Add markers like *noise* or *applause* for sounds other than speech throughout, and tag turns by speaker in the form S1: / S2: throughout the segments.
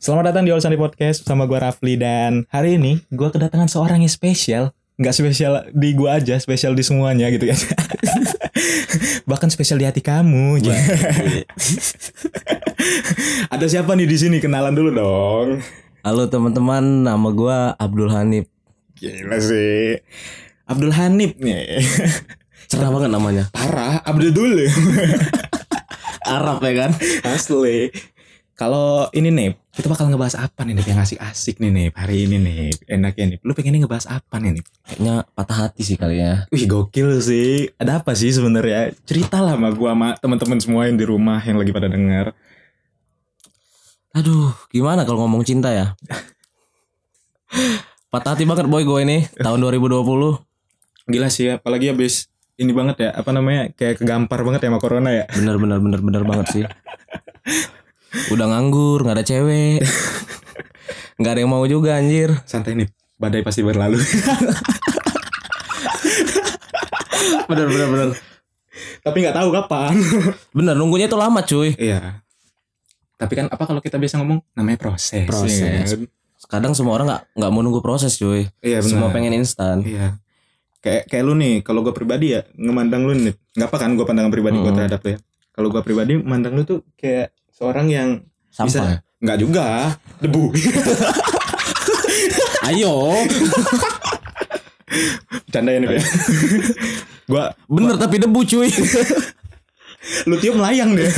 S1: Selamat datang di Olsani Podcast bersama gue Rafli dan hari ini gue kedatangan seorang yang spesial nggak spesial di gue aja, spesial di semuanya gitu ya. *laughs* Bahkan spesial di hati kamu.
S2: Wah,
S1: Ada siapa nih di sini? Kenalan dulu dong.
S2: Halo teman-teman, nama gua Abdul Hanif.
S1: Gila sih. Abdul Hanif nih.
S2: Cerah banget namanya.
S1: Parah, Abdul *laughs* dulu.
S2: Arab ya kan?
S1: Asli. Kalau ini nih, kita bakal ngebahas apa nih Nip? yang asik-asik nih nih hari ini nih. Enaknya nih. Lu pengen ngebahas apa nih nih?
S2: Kayaknya patah hati sih kali ya.
S1: Wih gokil sih. Ada apa sih sebenarnya? Ceritalah sama gua sama teman-teman semua yang di rumah yang lagi pada denger.
S2: Aduh, gimana kalau ngomong cinta ya? patah hati banget boy gue ini tahun 2020
S1: Gila sih, apalagi habis ini banget ya, apa namanya? Kayak kegampar banget ya sama corona ya.
S2: bener bener bener bener banget sih udah nganggur nggak ada cewek nggak ada yang mau juga anjir
S1: Santai nih, badai pasti berlalu. *laughs*
S2: bener bener bener
S1: Tapi nggak tahu kapan.
S2: bener nunggunya itu lama cuy
S1: Iya. Tapi kan apa kalau kita biasa ngomong namanya proses.
S2: Proses.
S1: ya kan?
S2: kadang semua orang nggak nggak mau nunggu proses cuy
S1: Iya benar.
S2: semua pengen instan
S1: Iya. Kayak kayak lu nih, kalau gue pribadi ya ngemandang lu nih. Nggak apa kan gue pandangan pribadi gue
S2: Mm.
S1: terhadap lu ya. Kalau gue pribadi mandang lu tuh kayak seorang yang
S2: sampah ya?
S1: bisa nggak juga debu *laughs*
S2: Ayo,
S1: canda ini ya gua
S2: bener tapi debu cuy.
S1: lu tiup melayang deh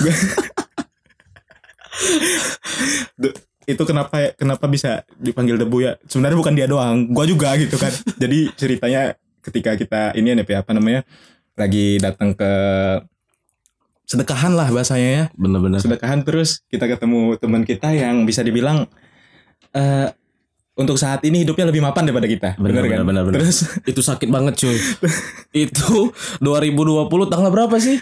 S1: Gua- Duh, itu kenapa kenapa bisa dipanggil debu ya sebenarnya bukan dia doang gua juga gitu kan jadi ceritanya ketika kita ini ya Nep, ya, apa namanya lagi datang ke sedekahan lah bahasanya ya
S2: Bener-bener.
S1: sedekahan terus kita ketemu teman kita yang bisa dibilang eh untuk saat ini hidupnya lebih mapan daripada kita.
S2: Benar,
S1: Bener kan?
S2: benar, benar, benar.
S1: Terus
S2: Itu sakit banget cuy. Itu 2020 tanggal berapa sih?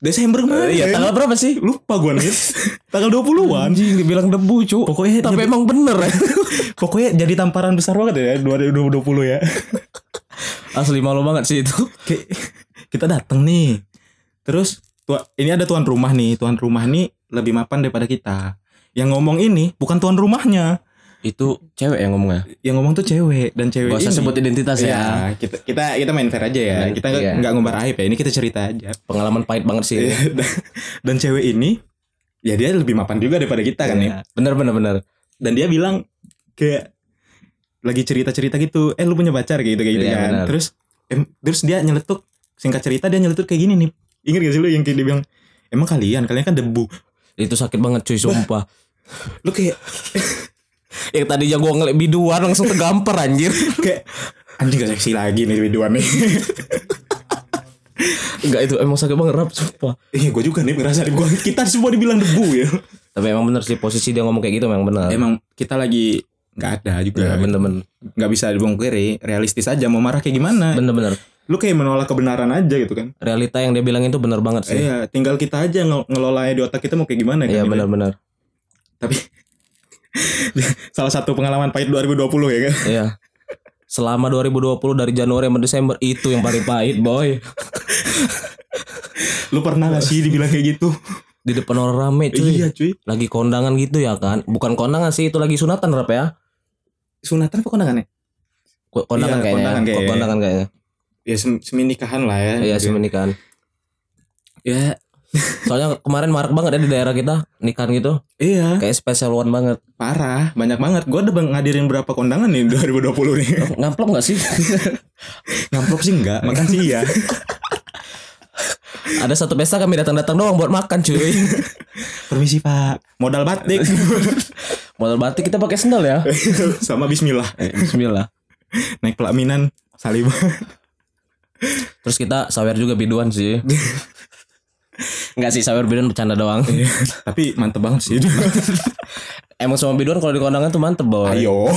S1: Desember kemarin.
S2: Eh, Iya, tanggal berapa sih?
S1: lupa gua nih. *laughs* tanggal 20-an.
S2: Anjing dibilang debu cuy.
S1: Pokoknya
S2: tapi emang bener ya.
S1: Pokoknya jadi tamparan besar banget ya 2020 ya.
S2: *laughs* Asli malu banget sih itu.
S1: *laughs* Kayak, kita datang nih. Terus tua, ini ada tuan rumah nih. Tuan rumah nih lebih mapan daripada kita. Yang ngomong ini bukan tuan rumahnya.
S2: Itu cewek yang ngomongnya.
S1: Yang ngomong tuh cewek dan cewek
S2: Gak usah
S1: ini.
S2: sebut identitas ya.
S1: Iya, kita kita kita main fair aja ya.
S2: Main-
S1: kita nggak
S2: iya.
S1: nggak ngumbar aib ya. Ini kita cerita aja.
S2: Pengalaman pahit banget sih.
S1: Iya, dan, *laughs* dan cewek ini ya dia lebih mapan juga daripada kita kan ya.
S2: Bener bener bener.
S1: Dan dia bilang kayak lagi cerita-cerita gitu, "Eh lu punya pacar kayak gitu kayak gitu
S2: Iya,
S1: kan."
S2: benar.
S1: Terus em, terus dia nyeletuk singkat cerita dia nyeletuk kayak gini nih. Ingat gak sih lu yang kayak dia bilang, "Emang kalian kalian kan debu." *laughs*
S2: Itu sakit banget cuy sumpah.
S1: Lu kayak
S2: *laughs* Yang tadinya gua ngeliat biduan langsung tergampar
S1: *laughs*
S2: anjir.
S1: kayak anjing gak seksi lagi nih biduan nih. *laughs*
S2: Enggak itu emang sakit banget rap sumpah.
S1: Iya, gue juga nih ngerasa nih. Gua- kita semua dibilang debu ya.
S2: Tapi emang bener sih posisi dia ngomong kayak gitu emang bener.
S1: Emang kita lagi nggak ada juga
S2: Iya, bener bener
S1: nggak bisa dibungkiri realistis aja mau marah kayak gimana
S2: bener bener.
S1: lu kayak menolak kebenaran aja gitu kan
S2: realita yang dia bilang itu benar banget sih.
S1: iya tinggal kita aja ngel ngelolanya di otak kita mau kayak gimana kan
S2: Iya
S1: gitu.
S2: benar-benar.
S1: tapi *laughs* salah satu pengalaman pahit 2020 ya kan
S2: Iya. Selama 2020 dari Januari sampai Desember itu yang paling pahit, boy.
S1: lu pernah gak sih dibilang kayak gitu
S2: Di depan orang rame cuy.
S1: iya cuy
S2: Lagi kondangan gitu ya kan. Bukan kondangan sih, itu lagi sunatan rap ya.
S1: sunatan apa kondangan ya
S2: Ko- Kondangan
S1: Iya, kondangan
S2: kayaknya. Kondangan
S1: kayaknya.
S2: kayaknya. Kondangan kayaknya.
S1: ya sem- semi nikahan lah ya
S2: Iya, sih menikahan.
S1: ya
S2: Soalnya kemarin marak banget ya di daerah kita nikahan gitu.
S1: iya
S2: Kayak special one banget.
S1: parah banyak banget gue udah bang- ngadirin berapa kondangan nih 2020 nih
S2: Ngamplop gak sih?
S1: ngamplop Oh, sih enggak makan sih iya
S2: Ada satu pesta kami datang-datang doang buat makan *laughs* cuy.
S1: *laughs* permisi pak modal *laughs* batik
S2: Modal batik kita pakai sendal ya.
S1: sama bismillah
S2: Eh, Bismillah.
S1: naik pelaminan salib
S2: Terus kita sawer juga biduan
S1: *laughs*
S2: sih. Enggak sih sawer biduan bercanda doang.
S1: Iya. tapi mantep banget sih
S2: Emang sama biduan kalau di kondangan tuh mantep boy.
S1: ayo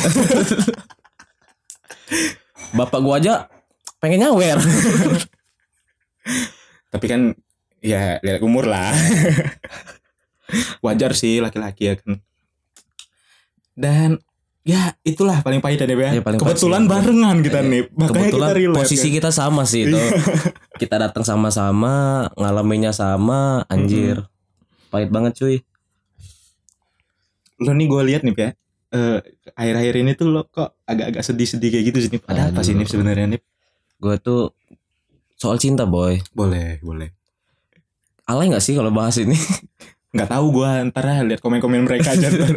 S2: Bapak gua aja pengen
S1: *laughs*
S2: nyawer.
S1: tapi kan ya lihat umur lah *laughs* wajar sih laki-laki ya kan dan ya itulah paling pahit ya Nip, ya.
S2: Ya, paling pahit
S1: kebetulan
S2: sih.
S1: barengan kita
S2: Iya.
S1: nih makanya
S2: Kebetulan
S1: kita relate
S2: posisi
S1: kan.
S2: kita sama sih itu. *laughs* kita datang sama-sama, ngalaminnya sama, anjir. Pahit banget cuy.
S1: lo nih gue lihat nih ya eh akhir-akhir ini tuh lo kok agak-agak sedih-sedih kayak gitu sih Nip. ada apa sih
S2: Aduh.
S1: Nip sebenarnya Nip
S2: Gue tuh soal cinta boy.
S1: boleh boleh
S2: Alay nggak sih kalau bahas ini? *laughs*
S1: nggak tahu gue ntar ah, lihat komen-komen mereka aja ntar.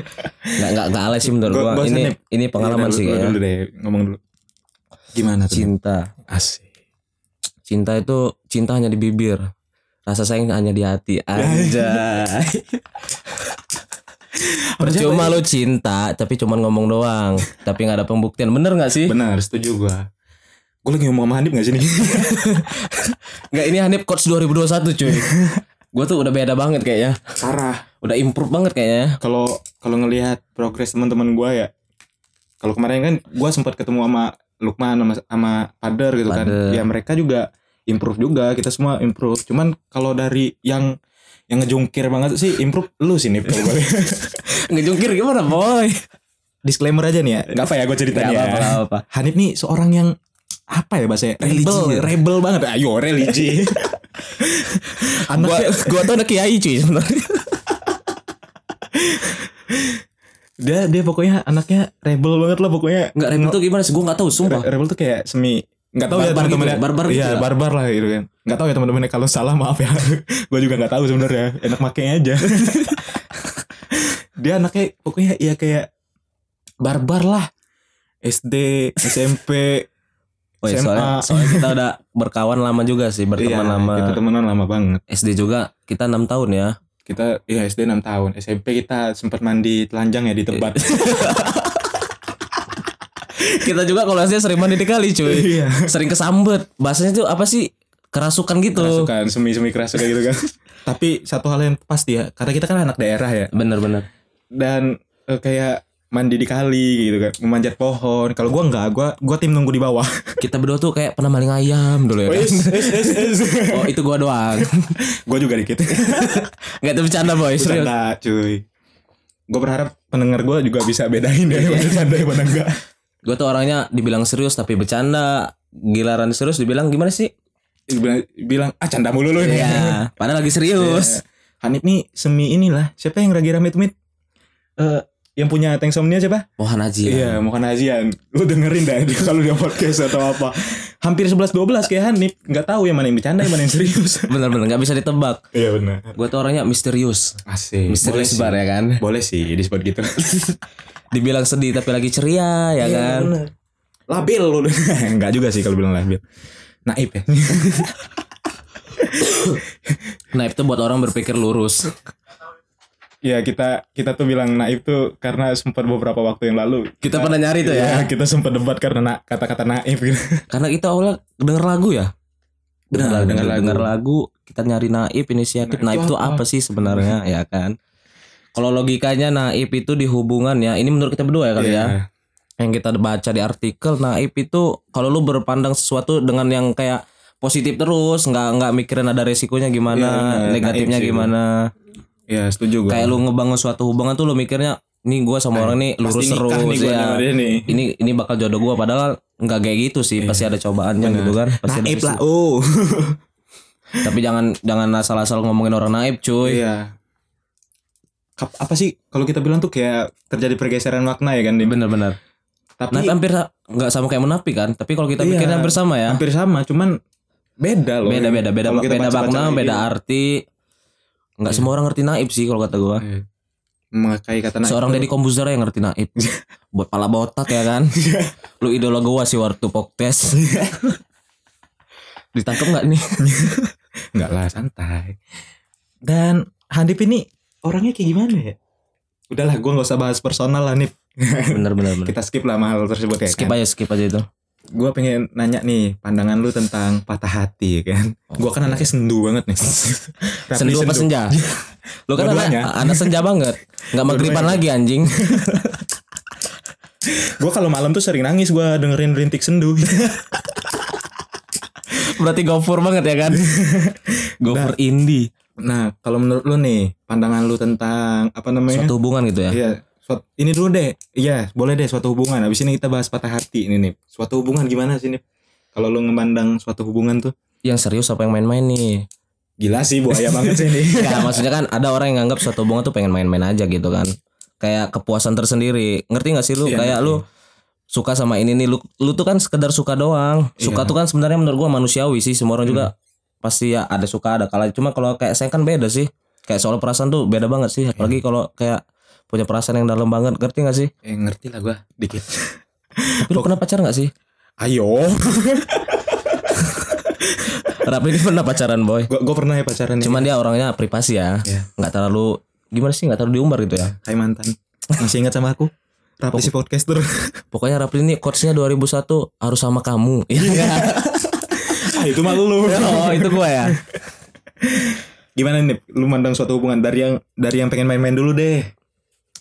S2: Nggak nggak nggak alay sih menurut
S1: Gua-
S2: gue.
S1: gua
S2: Ini
S1: senip.
S2: ini *laughs* pengalaman
S1: Lu-
S2: sih ya.
S1: lu Iya,
S2: kayaknya.
S1: dulu deh ngomong dulu gimana tuh Nip?
S2: Cinta,
S1: asik
S2: cinta itu cinta hanya di bibir. Rasa sayang hanya di hati
S1: *laughs* Ya,
S2: aja. Percuma lu cinta tapi cuman ngomong doang, tapi nggak ada pembuktian. Bener nggak sih?
S1: benar setuju gue gue lagi ngomong sama Hanif gak sih nih
S2: Nggak ini Hanif coach 2021 *laughs* cuy. gue tuh udah beda banget kayaknya.
S1: *laughs* parah
S2: Udah improve banget kayaknya.
S1: kalau kalau ngelihat progres teman-teman gua ya kalau kemarin kan gua sempat ketemu sama Lukman sama sama Pader gitu
S2: Pader.
S1: kan ya mereka juga improve juga kita semua improve cuman kalau dari yang yang ngejungkir banget sih improve lu sih *laughs* nih kalau gua lihat.
S2: Ngejungkir gimana boy?
S1: disclaimer aja nih ya nggak apa ya gue
S2: Gak
S1: ceritain ya
S2: apa-apa, nggak apa-apa.
S1: Hanif nih seorang yang apa ya bahasanya
S2: Religious.
S1: rebel rebel banget ayo *laughs* religi
S2: Gua,
S1: anaknya
S2: gua tuh ada kiai cuy sebenarnya.
S1: dia dia pokoknya anaknya rebel banget lah pokoknya
S2: Enggak rebel tuh gimana sih? Gua enggak tahu sumpah.
S1: Re- Rebel tuh kayak semi nggak tahu ya
S2: Barbar
S1: teman-teman
S2: gitu, barbar gitu
S1: iya
S2: lah.
S1: barbar lah gitu kan nggak tahu ya teman-teman kalau salah maaf ya *laughs* gue juga nggak tahu sebenarnya enak makainya aja *laughs* dia anaknya pokoknya ya kayak barbar lah SD SMP
S2: Woi,
S1: SMA.
S2: soalnya, soalnya kita udah berkawan lama juga sih,
S1: Iya,
S2: berteman lama.
S1: kita temenan lama banget
S2: SD juga kita 6 tahun ya.
S1: kita ya SD 6 tahun SMP kita sempat mandi telanjang ya di tempat
S2: *laughs* Kita juga kalau SD sering mandi di kali cuy.
S1: *laughs* iya
S2: Sering kesambet. Bahasanya tuh apa sih? Kerasukan gitu.
S1: kerasukan semi semi kerasukan gitu kan *laughs* tapi satu hal yang pasti ya karena kita kan anak daerah ya
S2: Bener-bener.
S1: dan eh, kayak mandi di kali gitu kan memanjat pohon kalau gua nggak gua gua tim nunggu di *laughs* bawah
S2: Kita berdua tuh kayak pernah maling ayam dulu ya. kan? Oh, itu gua doang.
S1: *laughs* gua juga dikit *laughs*
S2: Enggak tuh bercanda, boy. Serius.
S1: bercanda cuy gua berharap pendengar gua juga bisa *laughs* bedain dari mana bercanda yang mana *laughs* enggak
S2: Gua tuh orangnya dibilang serius tapi bercanda. Gilaran serius dibilang gimana
S1: *laughs*
S2: sih?
S1: bilang, bilang ah canda mulu lu ini
S2: Iya, padahal lagi
S1: Iya.
S2: serius.
S1: Hanif nih semi inilah siapa yang lagi rame tumit Eh, yang punya tanksomnia siapa?
S2: Wah, Najia.
S1: Iya, mau bukan Azian. Lu dengerin dah dia kalau dia podcast atau apa. Hampir 11 12 kayak Hanif, nggak tahu yang mana yang bercanda, yang mana yang serius.
S2: Bener-bener nggak bisa ditebak.
S1: *laughs* Iya benar.
S2: Gue tuh orangnya misterius.
S1: Asik. Boleh
S2: Misterius
S1: sih.
S2: bar ya kan.
S1: Boleh sih di spot *laughs* gitu.
S2: Dibilang sedih tapi lagi ceria
S1: Iya,
S2: ya kan.
S1: labil lu. *laughs* Enggak juga sih kalau bilang labil. Naib *laughs* ya.
S2: Nah itu buat orang berpikir lurus.
S1: ya kita kita tuh bilang naib tuh karena sempat beberapa waktu yang lalu
S2: Kita pernah nyari tuh
S1: Ya,
S2: ya.
S1: kita sempat debat karena na- kata-kata naib gitu.
S2: Karena kita awalnya denger lagu ya.
S1: Benar,
S2: Denger
S1: denger lagu.
S2: Denger lagu, kita nyari naib inisiatif.
S1: Naib
S2: Naib,
S1: itu
S2: itu
S1: apa?
S2: apa sih sebenarnya
S1: *laughs*
S2: ya kan. Kalau logikanya naib itu di hubungan ya. Ini menurut kita berdua ya kali
S1: Iya.
S2: ya. yang kita baca di artikel naif itu kalau lu berpandang sesuatu dengan yang kayak positif terus nggak nggak mikirin ada resikonya
S1: Iya,
S2: gimana
S1: benar.
S2: negatifnya
S1: Naif sih.
S2: gimana
S1: Ya, setuju gue.
S2: kayak lu ngebangun suatu hubungan tuh lu mikirnya nih gua sama orang nih lurus
S1: Eh, nikah
S2: terus
S1: nih gua
S2: ya
S1: sama dia nih.
S2: ini ini bakal jodoh gua padahal nggak kayak gitu sih pasti ada cobaannya gitu kan pasti ada
S1: Iya. Naib lah.
S2: resiko.
S1: Oh.
S2: tapi jangan jangan asal-asal ngomongin orang naif cuy
S1: Iya. Kap- apa sih kalau kita bilang tuh kayak terjadi pergeseran makna ya kan Dim?
S2: bener-bener
S1: Tapi
S2: naif hampir nggak sama kayak menafik kan tapi kalau kita
S1: Iya.
S2: mikirnya hampir sama ya
S1: hampir sama, cuman beda loh.
S2: beda beda beda
S1: Kalau kita
S2: beda
S1: baca-baca
S2: makna
S1: lagi, iya.
S2: beda arti nggak semua orang ngerti naib sih kalau kata gua
S1: Iya. Memakai kata naib.
S2: seorang
S1: tuh-
S2: Deddy Kombuzer yang ngerti
S1: *laughs*
S2: naib buat pala botak ya kan lu idola gua sih waktu
S1: *laughs*
S2: poktes ditangkap nggak nih
S1: Enggak lah santai. Dan Handip ini orangnya kayak gimana ya? Udahlah gue gak usah bahas personal lah Nip
S2: bener bener bener
S1: Kita skip lah mahal tersebut ya
S2: skip
S1: kan
S2: aja skip aja itu
S1: Gue pengen nanya nih pandangan lu tentang patah hati ya kan Gue kan anaknya sendu banget nih Rapli
S2: sendu apa
S1: *laughs*
S2: senja lu kan
S1: Ya,
S2: anak,
S1: Dua-duanya.
S2: anak senja banget nggak maghriban lagi anjing *laughs*
S1: Gue kalau malam tuh sering nangis gue dengerin rintik sendu *laughs*
S2: berarti gofur banget
S1: *laughs*
S2: ya kan gofur indie
S1: Nah kalau menurut lu nih pandangan lu tentang apa namanya
S2: suatu hubungan gitu ya
S1: Iya, suat- ini dulu deh. Iya, boleh deh suatu hubungan. Habis ini kita bahas patah hati ini nih. Suatu hubungan gimana sih nih? Kalau lu ngemandang suatu hubungan tuh
S2: yang serius apa yang main-main nih
S1: gila sih buaya banget sih ini. *laughs*
S2: Enggak, maksudnya kan ada orang yang nganggap suatu hubungan tuh pengen main-main aja gitu kan. kayak kepuasan tersendiri ngerti nggak sih lu
S1: Iya,
S2: kayak
S1: ngerti.
S2: lu suka sama ini nih lu lu tuh kan sekedar suka doang
S1: Iya.
S2: suka
S1: Hmm.
S2: tuh kan sebenarnya menurut gua manusiawi sih semua orang juga pasti ya ada suka ada kalah cuma kalau kayak saya kan beda sih kayak soal perasaan tuh beda banget sih
S1: Iya.
S2: apalagi kalau kayak punya perasaan yang dalam banget ngerti nggak sih
S3: Eh, ngerti lah gua dikit.
S2: tapi lu pernah pacar nggak sih
S1: Ayo,
S2: Rapli ini pernah pacaran boy
S1: gua, gua pernah ya pacaran ya.
S2: cuman dia orangnya privasi ya
S1: Iya.
S2: nggak terlalu gimana sih nggak terlalu diumbar gitu ya
S1: kayak mantan. Masih ingat sama aku? Rapi si podcaster.
S2: Pokoknya Rapli ini coachnya 2001 harus sama kamu. *laughs* Iya nggak?
S1: ah, itu mah lu.
S2: oh itu gua ya.
S1: *laughs* Gimana nih lu mandang suatu hubungan dari yang dari yang pengen main-main dulu deh.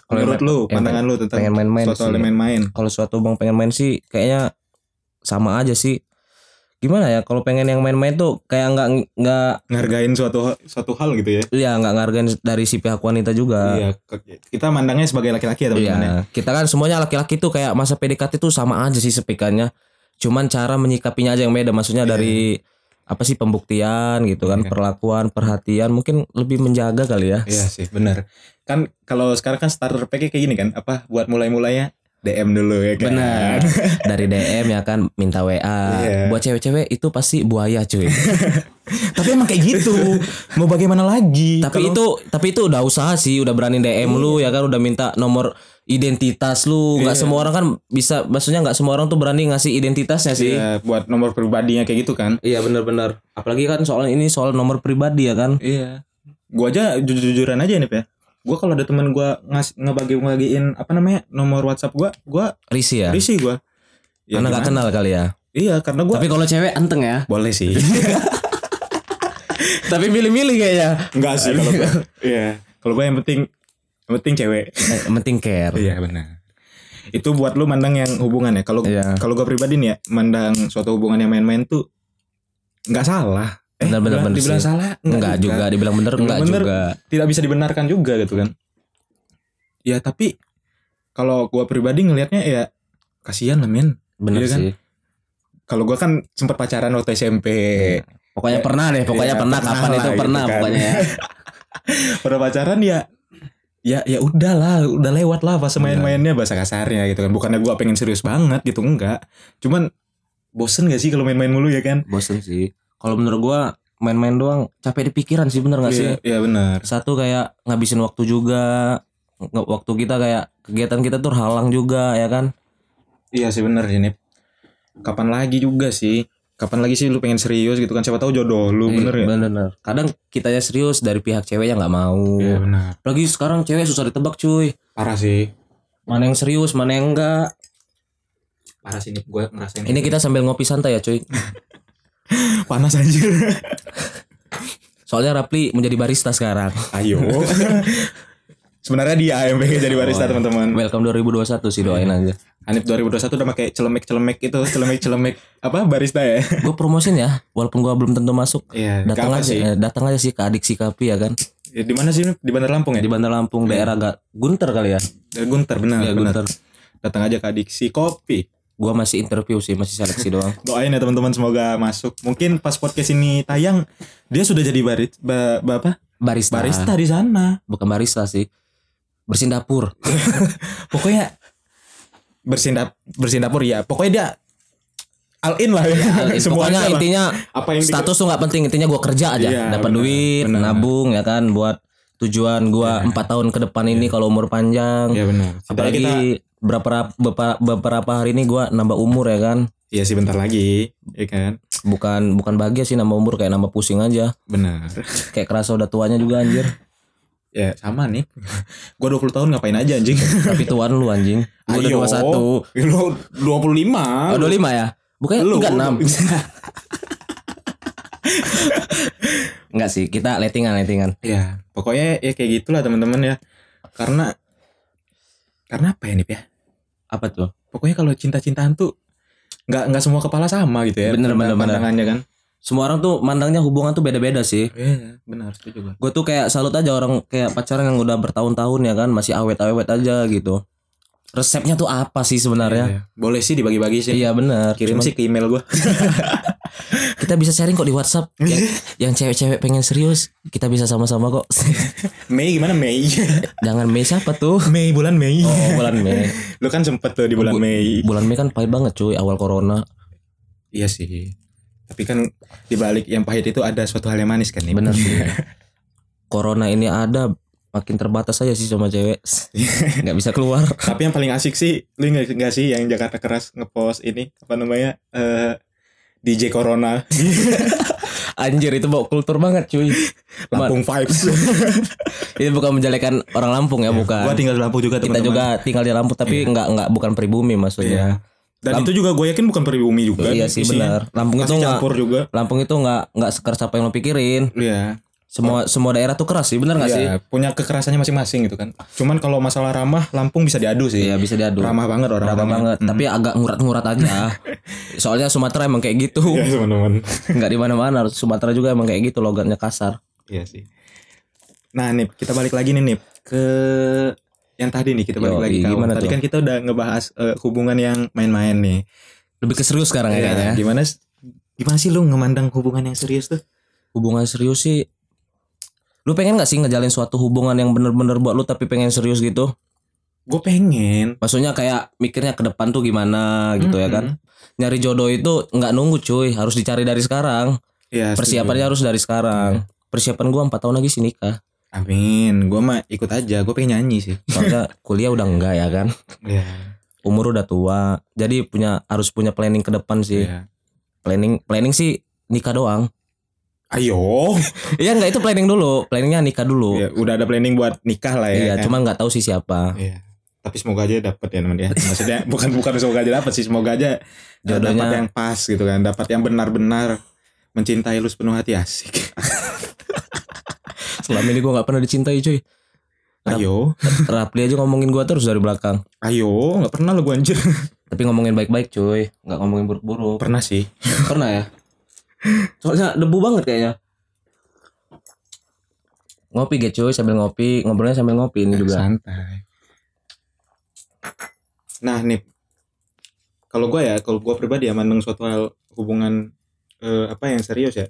S2: Kalau
S1: Menurut
S2: yang-
S1: lu,
S2: yang
S1: pandangan lu tentang
S2: pengen main-main
S1: soal
S2: sih.
S1: main-main.
S2: Kalau suatu bang pengen main sih kayaknya sama aja sih. Gimana ya kalau pengen yang main-main tuh kayak nggak nggak
S1: Ngehargain suatu suatu hal gitu ya.
S2: ya nggak ngargain dari si pihak wanita juga.
S1: Iya, ke- kita mandangnya sebagai laki-laki ya teman-teman. ya?
S2: kita kan semuanya laki-laki tuh kayak masa PDKT tuh sama aja sih sepikannya. Cuman cara menyikapinya aja yang beda. Maksudnya dari apa sih pembuktian gitu kan,
S1: Iya.
S2: perlakuan, perhatian mungkin lebih menjaga kali ya.
S1: Iya sih, benar. Kan kalau sekarang kan starter pack-nya kayak gini kan, apa buat mulai-mulainya DM dulu ya kan. *laughs*
S2: Benar. Dari DM ya kan minta WA.
S1: Iya.
S2: Buat cewek-cewek itu pasti buaya cuy.
S1: *laughs* Tapi emang kayak gitu. Mau bagaimana lagi? Kalau-
S2: tapi
S1: Iya.
S2: itu tapi itu udah usaha sih, udah berani DM lu ya kan udah minta nomor identitas lu. nggak semua orang kan bisa maksudnya nggak semua orang tuh berani ngasih identitasnya sih.
S1: Iya, buat nomor pribadinya kayak gitu kan.
S2: Iya benar-benar. Apalagi kan soal ini soal nomor pribadi ya kan.
S1: Iya. Gua aja jujur-jujuran aja nih, ya. Gua kalau ada teman gua ngas ngebagi-ngebagiin apa namanya? nomor WhatsApp gua, gua
S2: Risi ya.
S1: risih gua. Ya,
S2: Karena nggak
S1: gimana?
S2: kenal kali ya.
S1: Iya, karena gua Iya,
S3: Tapi kalau cewek anteng
S2: *laughs*
S3: ya.
S1: boleh sih.
S2: tapi milih-milih kayaknya.
S1: Enggak sih kalau gua. *laughs* Iya. Kalau gua yang penting yang penting cewek.
S2: Eh, yang penting care.
S1: Iya, benar. Itu buat lu mandang yang hubungan ya. Kalau
S2: Iya.
S1: kalau gua pribadi nih ya, mandang suatu hubungan yang main-main tuh nggak salah. Eh,
S2: Benar, benar,
S1: dibilang-
S2: benar
S1: dibilang
S2: sih.
S1: salah
S2: Enggak juga dibilang bener
S1: Dibilang
S2: enggak
S1: bener.
S2: juga.
S1: tidak bisa dibenarkan juga gitu kan ya tapi kalau gua pribadi ngelihatnya ya kasihan lah men
S2: Bener
S1: Iya kan?
S2: sih.
S1: kalau gua kan sempat pacaran waktu SMP
S2: Iya. Pokoknya
S1: Eh,
S2: pernah deh, pokoknya
S1: iya,
S2: pernah,
S1: pernah
S2: kapan
S1: lah
S2: itu
S1: gitu
S2: pernah
S1: kan.
S2: pokoknya ya.
S1: pada pacaran ya *laughs* ya ya udahlah udah lewat lah pas
S2: Iya.
S1: main-mainnya bahasa kasarnya gitu kan bukannya gua pengen serius banget gitu enggak cuman bosen gak sih kalau main-main mulu ya kan
S2: bosen sih kalau menurut gua main-main doang capek di pikiran sih bener gak sih
S1: Iya iya benar
S2: satu kayak ngabisin waktu juga Nge- waktu kita kayak kegiatan kita tuh halang juga ya kan
S1: iya sih benar ini kapan lagi juga sih kapan lagi sih lu pengen serius gitu kan siapa tahu jodoh lu bener ya
S2: bener kadang kitanya serius dari pihak cewek yang nggak mau
S1: iya benar
S2: lagi sekarang cewek susah ditebak cuy
S1: parah sih
S2: mana yang serius mana yang enggak
S1: parah sih gue ngerasain gitu.
S2: ini kita sambil ngopi santai ya cuy
S1: panas aja
S2: soalnya Rapli menjadi barista sekarang
S1: *laughs* ayo sebenarnya dia yang pengen jadi barista teman-teman
S2: welcome 2021 sih doain aja
S1: Hanif 2021 udah pakai celemek celemek itu celemek celemek apa barista ya
S2: gue promosin ya walaupun gua belum tentu masuk
S1: iya
S2: datang
S1: apa
S2: aja
S1: sih
S2: eh, datang aja sih ke adiksi kapi ya kan
S1: Ya, di mana sih di Bandar Lampung ya di
S2: di Bandar Lampung daerah gak Gunter kali ya
S1: Gunter benar
S2: Iya,
S1: benar
S2: Gunter.
S1: datang aja ke adiksi kopi
S2: gua masih interview sih masih seleksi doang
S1: doain ya teman-teman semoga masuk mungkin pas podcast ini tayang dia sudah jadi baris ba, ba- apa
S2: barista
S1: barista di sana
S2: bukan barista sih bersihin dapur
S1: *laughs* pokoknya bersihin dap- bersihin dapur ya pokoknya dia all in lah ya, *laughs* Semua
S2: Iya, Eh, pokoknya
S1: aja lah.
S2: intinya
S1: apa yang di-
S2: status tuh nggak penting intinya gua kerja aja
S1: Iya,
S2: dapat
S1: benar,
S2: duit
S1: benar.
S2: nabung ya kan buat tujuan gua empat tahun ke depan ini kalau umur panjang
S1: Iya benar. Apalagi kita
S2: apalagi beberapa beberapa beberapa hari ini gua nambah umur ya kan
S1: Iya sih bentar lagi, ya kan?
S2: bukan bukan bahagia sih nambah umur kayak nambah pusing aja
S1: Benar.
S2: kayak kerasa udah tuanya juga anjir
S1: Ya sama nih. *laughs* Gua 20 tahun ngapain aja anjing? *laughs*
S2: tapi tuan lu anjing gua udah
S1: Ayo.
S2: dua satu
S1: Lu 25.
S2: oh, dua lima ya bukannya
S1: Lu
S2: tiga enam
S1: *laughs*
S2: Enggak sih, kita lettingan lettingan.
S1: ya, pokoknya ya kayak gitulah teman-teman ya. Karena karena apa ya nih ya?
S2: Apa tuh?
S1: Pokoknya kalau cinta-cintaan tuh nggak nggak semua kepala sama gitu ya.
S2: Bener, bener, bener.
S1: pandangannya kan.
S2: Semua orang tuh mandangnya hubungan tuh beda-beda sih.
S1: Iya, benar setuju gua.
S2: Gue tuh kayak salut aja orang kayak pacaran yang udah bertahun-tahun ya kan masih awet-awet aja gitu. Resepnya tuh apa sih sebenarnya?
S1: Iya. Boleh sih dibagi-bagi sih.
S2: Iya benar.
S1: Kirim sih ke email gua.
S2: Kita bisa sharing kok di WhatsApp. yang yang cewek-cewek pengen serius kita bisa sama-sama kok.
S1: *laughs*
S2: *laughs*
S1: Mei gimana *laughs* Mei?
S2: Jangan Mei siapa tuh?
S1: Mei bulan Mei.
S2: Oh, bulan Mei.
S1: Lu kan sempet tuh di bulan
S2: Oh, Bu-
S1: Mei.
S2: Bulan Mei kan pahit banget cuy awal corona.
S1: Iya sih. Tapi kan di balik yang pahit itu ada suatu hal yang manis kan nih.
S2: Benar
S1: *laughs*
S2: sih. corona ini ada makin terbatas aja sih sama cewek. nggak bisa keluar.
S1: Tapi yang paling asik sih lu ingat gak sih yang Jakarta Keras ngepost ini apa namanya? eh DJ Corona
S2: Anjir itu bawa kultur banget cuy. Cuman,
S1: Lampung *laughs* vibes.
S2: ini bukan menjelekan orang Lampung ya, bukan.
S1: Iya. Gua tinggal di Lampung Iya. juga
S2: kita
S1: teman-teman. Iya.
S2: juga tinggal di Lampung tapi nggak nggak bukan pribumi maksudnya.
S1: Dan itu juga gue yakin bukan pribumi juga.
S2: Iya sih
S1: isinya.
S2: benar. Lampung itu
S1: Pasti
S2: nggak
S1: campur juga.
S2: Lampung itu nggak nggak sekeras apa yang lo pikirin.
S1: Iya.
S2: Semua semua daerah tuh keras sih, benar nggak sih?
S1: Iya, punya kekerasannya masing-masing gitu kan. Cuman kalau masalah ramah Lampung bisa diadu sih. *laughs*
S2: Iya bisa diadu.
S1: Ramah banget orang. Hmm.
S2: Ramah banget, tapi agak ngurat-ngurat
S1: *laughs*
S2: aja. Soalnya Sumatera emang kayak gitu.
S1: Iya teman-teman.
S2: Nggak di mana-mana. Sumatera juga emang kayak gitu logatnya kasar.
S1: Iya sih. Nah, Nip, kita balik lagi nih, Nip, ke yang tadi nih kita balik
S2: Yoi,
S1: lagi kawan.
S2: gimana
S1: Tadi
S2: tuh?
S1: kan kita udah ngebahas eh, hubungan yang main-main nih.
S2: Lebih ke serius sekarang
S1: Iya,
S2: ya, kayaknya.
S1: Gimana gimana sih lu ngemandang hubungan yang serius tuh?
S2: Hubungan serius sih Lu pengen gak sih ngejalin suatu hubungan yang bener-bener buat lu tapi pengen serius gitu?
S1: Gue pengen
S2: Maksudnya kayak mikirnya ke depan tuh gimana gitu ya kan? Nyari jodoh itu nggak nunggu cuy, harus dicari dari sekarang.
S1: Iya,
S2: Persiapannya harus dari sekarang. Persiapan gua empat tahun lagi sih nikah.
S1: setuju. Amin. Gua mah ikut aja, gue pengen nyanyi sih.
S2: Soalnya *laughs* kuliah udah enggak ya kan?
S1: Iya.
S2: Umur udah tua. Jadi punya harus punya planning ke depan sih.
S1: Iya.
S2: Planning planning sih nikah doang.
S1: Ayo.
S2: Iya enggak itu planning dulu. Planningnya nikah dulu.
S1: Iya, udah ada planning buat nikah lah ya.
S2: Iya,
S1: kan?
S2: cuman nggak tahu sih siapa.
S1: Iya. Tapi semoga aja dapet ya teman ya. *laughs* Maksudnya bukan bukan semoga aja dapet sih, semoga aja eh,
S2: Jodohnya-
S1: dapat yang pas gitu kan, dapat yang benar-benar mencintai lu sepenuh hati asik.
S2: Selama ini gua nggak pernah dicintai cuy.
S1: Ayo,
S2: Rapli aja ngomongin gua terus dari belakang.
S1: ayo, nggak pernah lu gua anjir.
S2: Tapi ngomongin baik-baik cuy, nggak ngomongin buruk-buruk.
S1: Pernah sih.
S2: Pernah ya? Soalnya debu banget kayaknya. Ngopi ge cuy sambil ngopi, ngobrolnya sambil ngopi ini juga.
S1: Santai. Nah, nih kalau gua ya, kalau gua pribadi ya mandang suatu hal hubungan eh, apa yang serius ya.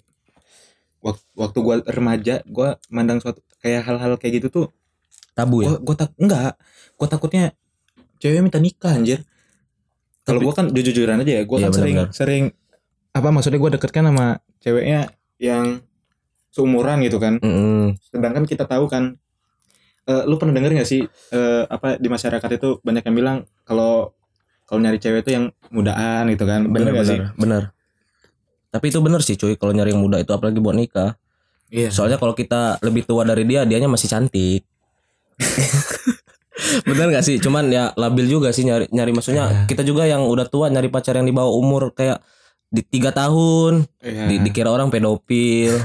S1: Waktu, waktu gua remaja, gua mandang suatu kayak hal-hal kayak gitu tuh
S2: Tabu ya.
S1: Gua gua tak enggak. Gua takutnya cewek minta nikah anjir. Kalau
S2: Tapi-
S1: gua kan jujur-jujuran aja ya, gua
S2: Iya,
S1: kan sering
S2: benar-benar.
S1: sering apa maksudnya gua deket kan sama ceweknya yang seumuran gitu kan.
S2: Mm-mm.
S1: Sedangkan kita tahu kan eh, lu pernah denger gak sih eh, apa di masyarakat itu banyak yang bilang kalau kalau nyari cewek itu yang mudaan gitu kan. Bener,
S2: Bener
S1: gak sih?
S2: bener bener. Tapi itu bener sih cuy kalau nyari yang muda itu apalagi buat nikah.
S1: Iya.
S2: Ya, Soalnya kalau kita lebih tua dari dia, dianya masih
S1: *laughs*
S2: cantik. bener gak sih? Cuman ya labil juga sih nyari nyari
S1: Iya.
S2: maksudnya kita juga yang udah tua nyari pacar yang di bawah umur kayak di tiga tahun
S1: Iya.
S2: di- dikira orang pedofil.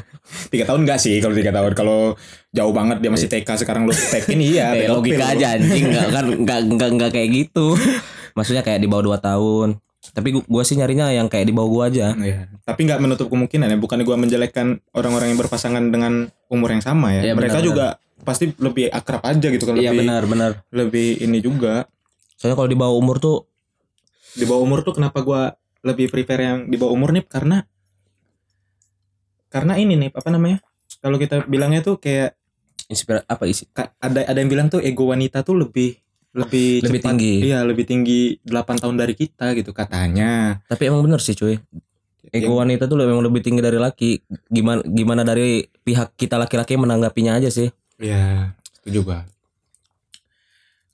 S1: tiga tahun enggak sih kalau tiga tahun kalau jauh banget dia masih TK sekarang lu TK ini ya
S2: *laughs* eh, Iya. logika aja anjing nggak kan nggak nggak nggak kayak gitu. *laughs* Maksudnya kayak di bawah 2 tahun. Tapi gua, gua sih nyarinya yang kayak di bawah gua aja.
S1: *laughs* Iya. Tapi nggak menutup kemungkinan ya. Bukan gua menjelekkan orang-orang yang berpasangan dengan umur yang sama ya.
S2: Iya,
S1: Mereka
S2: benar,
S1: juga pasti lebih akrab aja gitu kan.
S2: Iya
S1: lebih,
S2: benar benar.
S1: Lebih ini juga.
S2: Soalnya kalau di bawah umur tuh
S1: Di bawah umur tuh kenapa gua lebih prepare yang di bawah umur nih karena karena ini nih apa namanya? Kalau kita bilangnya tuh kayak
S2: inspira apa isi
S1: ka- ada ada yang bilang tuh ego wanita tuh lebih lebih
S2: Lebih
S1: cepat-
S2: tinggi.
S1: Iya, lebih tinggi 8 tahun dari kita gitu katanya. Iya,
S2: Tapi emang bener sih cuy. Ego
S1: Yang-
S2: wanita tuh memang lebih tinggi dari laki. Gimana gimana dari pihak kita laki-laki menanggapinya aja sih.
S1: Iya, setuju gua.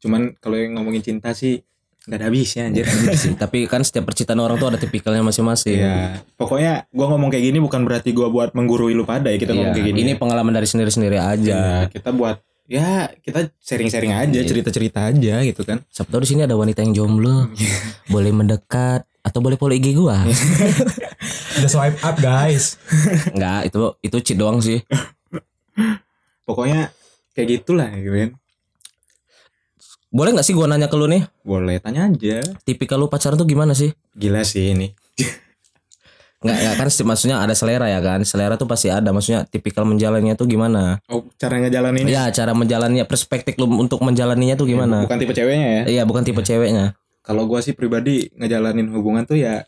S1: Cuman kalau yang ngomongin cinta sih nggak ada habisnya anjir.
S2: Iya. Sih, Tapi kan setiap percintaan orang tuh ada tipikalnya masing-masing.
S1: Iya. Pokoknya gua ngomong kayak gini bukan berarti gua buat menggurui lu pada ya kita
S2: Iya,
S1: ngomong kayak gini.
S2: Ini pengalaman dari sendiri-sendiri
S1: Iya,
S2: aja.
S1: kita buat ya kita sharing-sharing aja,
S2: Iya.
S1: cerita-cerita aja gitu kan.
S2: Siapa tahu di sini ada wanita yang jomblo,
S1: Iya.
S2: boleh mendekat atau boleh follow IG gua.
S1: Udah swipe up, guys.
S2: Enggak, itu itu cheat doang sih.
S1: Pokoknya kayak gitulah gitu kan.
S2: Boleh nggak sih gua nanya ke lu nih?
S1: Boleh tanya aja.
S2: Tipikal lu pacaran tuh gimana sih?
S1: Gila sih ini.
S2: Enggak, ya kan setiap- maksudnya ada selera ya kan. Selera tuh pasti ada. Maksudnya tipikal menjalannya tuh gimana?
S1: Oh, cara ngejalaninnya
S2: Ya, cara menjalannya, perspektif lu untuk menjalaninya tuh gimana?
S1: Bukan tipe ceweknya ya.
S2: Iya bukan tipe ceweknya.
S1: kalau gua sih pribadi ngejalanin hubungan tuh ya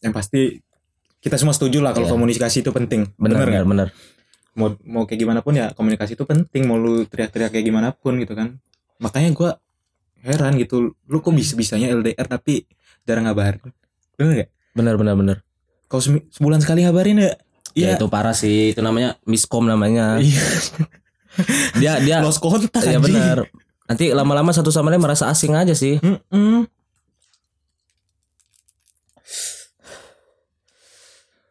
S1: yang pasti kita semua setuju lah kalau
S2: Iya.
S1: komunikasi itu penting.
S2: Benar
S1: nggak?
S2: benar benar.
S1: mau mau kayak gimana pun ya komunikasi itu penting mau lu teriak-teriak kayak gimana pun gitu kan makanya gua heran gitu lu kok bisa bisanya LDR tapi jarang ngabarin bener gak
S2: benar benar benar
S1: kalau semi- sebulan sekali ngabarin ya
S2: ya itu parah sih itu namanya miskom
S1: *laughs*
S2: namanya
S1: iya
S2: dia dia *laughs*
S1: lost kontak
S2: ya benar nanti lama-lama satu sama lain merasa asing aja sih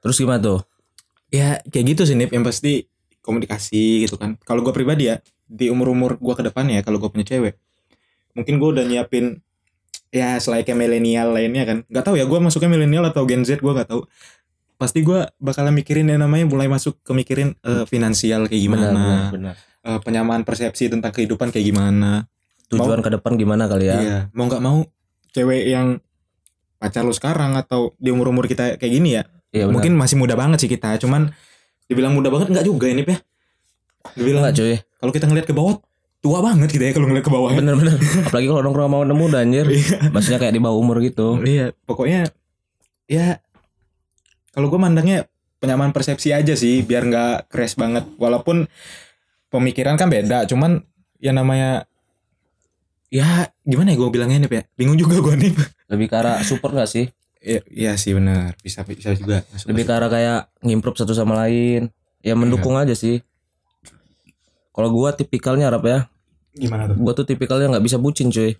S2: terus gimana tuh
S1: ya kayak gitu sih Nip yang pasti komunikasi gitu kan kalau gue pribadi ya di umur umur gue ke depannya ya, kalau gue punya cewek mungkin gue udah nyiapin ya selain kayak milenial lainnya kan nggak tahu ya gue masuknya milenial atau Gen Z gue nggak tahu pasti gue bakalan mikirin yang namanya mulai masuk ke mikirin eh, finansial kayak gimana
S2: benar
S1: eh, penyamaan persepsi tentang kehidupan kayak gimana
S2: tujuan ke depan gimana kali ya
S1: Iya, mau nggak mau cewek yang pacar lu sekarang atau di umur umur kita kayak gini ya
S2: iya benar
S1: mungkin masih muda banget sih kita cuman dibilang muda banget nggak juga ini ya dibilang *laughs*
S2: enggak cuy
S1: kalau kita ngeliat ke bawah tua banget kita ya kalau ngeliat ke bawah ya.
S2: bener bener apalagi kalau nongkrong sama anak muda anjir maksudnya kayak di bawah umur gitu
S1: iya pokoknya ya kalau gue mandangnya penyamaan persepsi aja sih biar nggak crash banget walaupun pemikiran kan beda cuman ya namanya ya gimana ya gue bilangnya nih ya bingung juga gue nih
S2: lebih ke arah support gak sih
S1: ya, iya sih benar bisa bisa juga Masuk-
S2: lebih ke arah kayak ngimprove satu sama lain ya mendukung
S1: Iya.
S2: aja sih kalau gua tipikalnya Arab ya
S1: gimana tuh
S2: gua tuh tipikalnya nggak bisa bucin cuy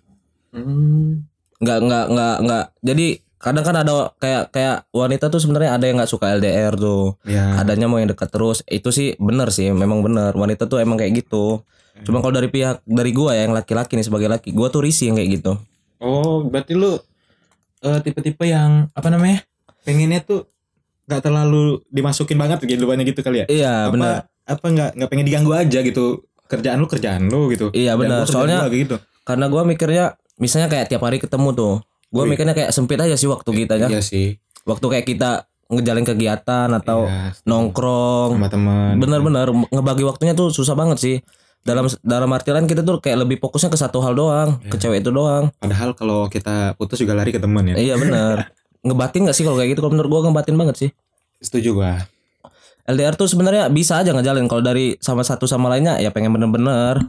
S1: Hmm.
S2: nggak nggak nggak nggak jadi kadang kan ada kayak kayak wanita tuh sebenarnya ada yang nggak suka LDR tuh
S1: ya
S2: adanya mau yang dekat terus itu sih bener sih memang bener wanita tuh emang kayak gitu
S1: Hmm.
S2: cuma kalau dari pihak dari gua ya yang laki-laki nih sebagai laki gua tuh risih yang kayak gitu
S1: Oh, berarti lu eh, tipe-tipe yang apa namanya? Pengennya tuh nggak terlalu dimasukin banget kehidupannya gitu kali ya?
S2: iya
S1: apa,
S2: bener
S1: Apa nggak nggak pengen diganggu aja gitu? Kerjaan lu kerjaan lu gitu.
S2: Iya,
S1: Kerjaan
S2: benar.
S1: lu kerjaan
S2: Soalnya-
S1: lu, kayak gitu.
S2: karena gua mikirnya misalnya kayak tiap hari ketemu tuh gua
S1: Wih.
S2: mikirnya kayak sempit aja sih waktu kita ya
S1: Iya sih.
S2: waktu kayak kita ngejalin kegiatan atau
S1: Iya,
S2: nongkrong
S1: sama teman.
S2: bener-bener ngebagi waktunya tuh susah banget sih dalam dalam arti lain kita tuh kayak lebih fokusnya ke satu hal doang ke cewek itu doang
S1: Padahal kalau kita putus juga lari ke teman ya.
S2: iya bener ngebatin gak sih kalau kayak gitu kalau menurut gua ngebatin banget sih
S1: Setuju gua.
S2: LDR tuh sebenarnya bisa aja ngejalin kalau dari sama satu sama lainnya ya pengen bener-bener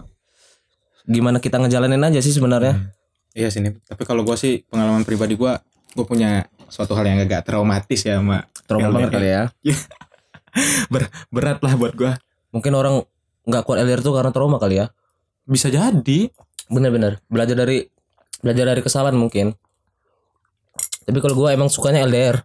S2: gimana kita ngejalanin aja sih sebenarnya
S1: Iya sih. Nip. Tapi kalau gua sih pengalaman pribadi gua gua punya suatu hal yang agak traumatis ya, Mak.
S2: trauma
S1: LDR.
S2: banget kali ya
S1: Berat lah buat gua.
S2: mungkin orang nggak kuat LDR tuh karena trauma kali ya
S1: Bisa jadi.
S2: bener-bener belajar dari belajar dari kesalahan mungkin tapi kalau gua emang sukanya LDR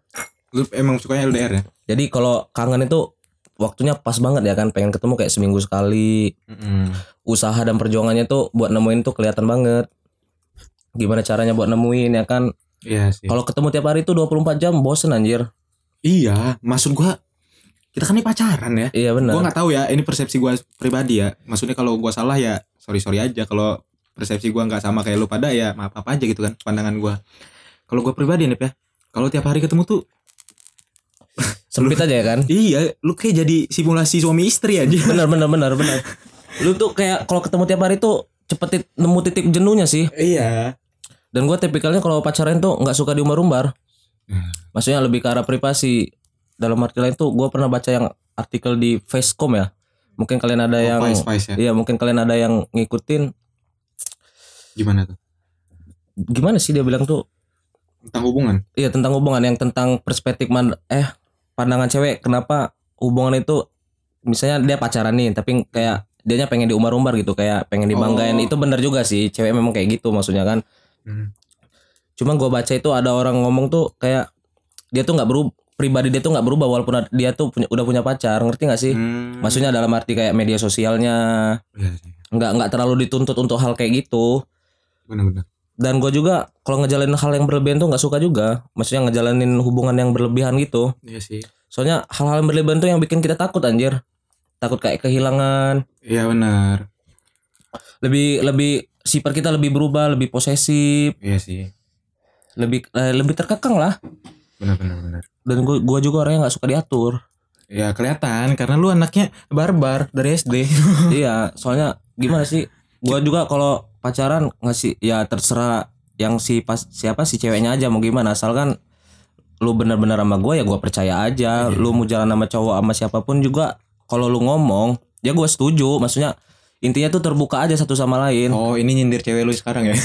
S1: Lu emang sukanya LDR ya?
S2: Jadi kalau kangen itu waktunya pas banget ya kan pengen ketemu kayak seminggu sekali.
S1: Mm-mm.
S2: Usaha dan perjuangannya tuh buat nemuin tuh kelihatan banget. Gimana caranya buat nemuin ya kan?
S1: Iya sih.
S2: Kalau ketemu tiap hari tuh 24 jam bosen anjir.
S1: Iya, maksud gua kita kan ini pacaran ya.
S2: Iya
S1: Gua
S2: benar.
S1: nggak tahu ya, ini persepsi gua pribadi ya. Maksudnya kalau gua salah ya sorry sorry aja. Kalau persepsi gua nggak sama kayak lu pada ya maaf apa aja gitu kan pandangan gua. Kalau gua pribadi nih ya, kalau tiap hari ketemu tuh
S2: Sempit aja ya
S1: *laughs*
S2: kan?
S1: iya, lu kayak jadi simulasi suami istri aja.
S2: Benar benar benar benar. Lu tuh kayak kalau ketemu tiap hari tuh cepet tit- nemu titik jenuhnya sih.
S1: iya.
S2: Dan gua tipikalnya kalau pacaran tuh nggak suka diumbar-umbar.
S1: Hmm.
S2: Maksudnya lebih ke arah privasi. Dalam arti lain tuh gua pernah baca yang artikel di Facecom ya. Mungkin kalian ada yang
S1: Yang... Vice, Vice ya.
S2: Iya mungkin kalian ada yang ngikutin
S1: Gimana tuh?
S2: gimana sih dia bilang tuh
S1: Tentang hubungan.
S2: iya tentang hubungan yang tentang perspektif man eh pandangan cewek kenapa hubungan itu misalnya dia pacaran nih tapi kayak dianya pengen diumbar-umbar gitu kayak pengen dibanggain
S1: Oh.
S2: itu bener juga sih cewek memang kayak gitu maksudnya kan
S1: Hmm.
S2: cuma gua baca itu ada orang ngomong tuh kayak dia tuh nggak berubah pribadi dia tuh nggak berubah walaupun ad- dia tuh punya, udah punya pacar ngerti nggak sih
S1: Hmm.
S2: maksudnya dalam arti kayak media sosialnya
S1: Iya sih.
S2: nggak nggak terlalu dituntut untuk hal kayak gitu
S1: Benar-benar.
S2: dan gue juga kalau ngejalanin hal yang berlebihan tuh nggak suka juga maksudnya ngejalanin hubungan yang berlebihan gitu
S1: Iya sih.
S2: soalnya hal-hal yang berlebihan tuh yang bikin kita takut anjir takut kayak kehilangan
S1: Iya benar.
S2: lebih lebih sifat kita lebih berubah lebih posesif
S1: Iya sih.
S2: lebih eh, lebih terkekang lah
S1: Benar-benar benar.
S2: dan gue gua juga orangnya nggak suka diatur
S1: Ya kelihatan karena lu anaknya barbar dari *laughs* SD.
S2: iya soalnya gimana sih gue juga kalau pacaran ngasih ya terserah yang si pas siapa si ceweknya aja mau gimana kan asalkan lu bener-bener sama gue ya gue percaya aja lu mau jalan sama cowok sama siapapun juga kalau lu ngomong ya gue setuju maksudnya intinya tuh terbuka aja satu sama lain
S1: Oh ini nyindir cewek lu sekarang ya?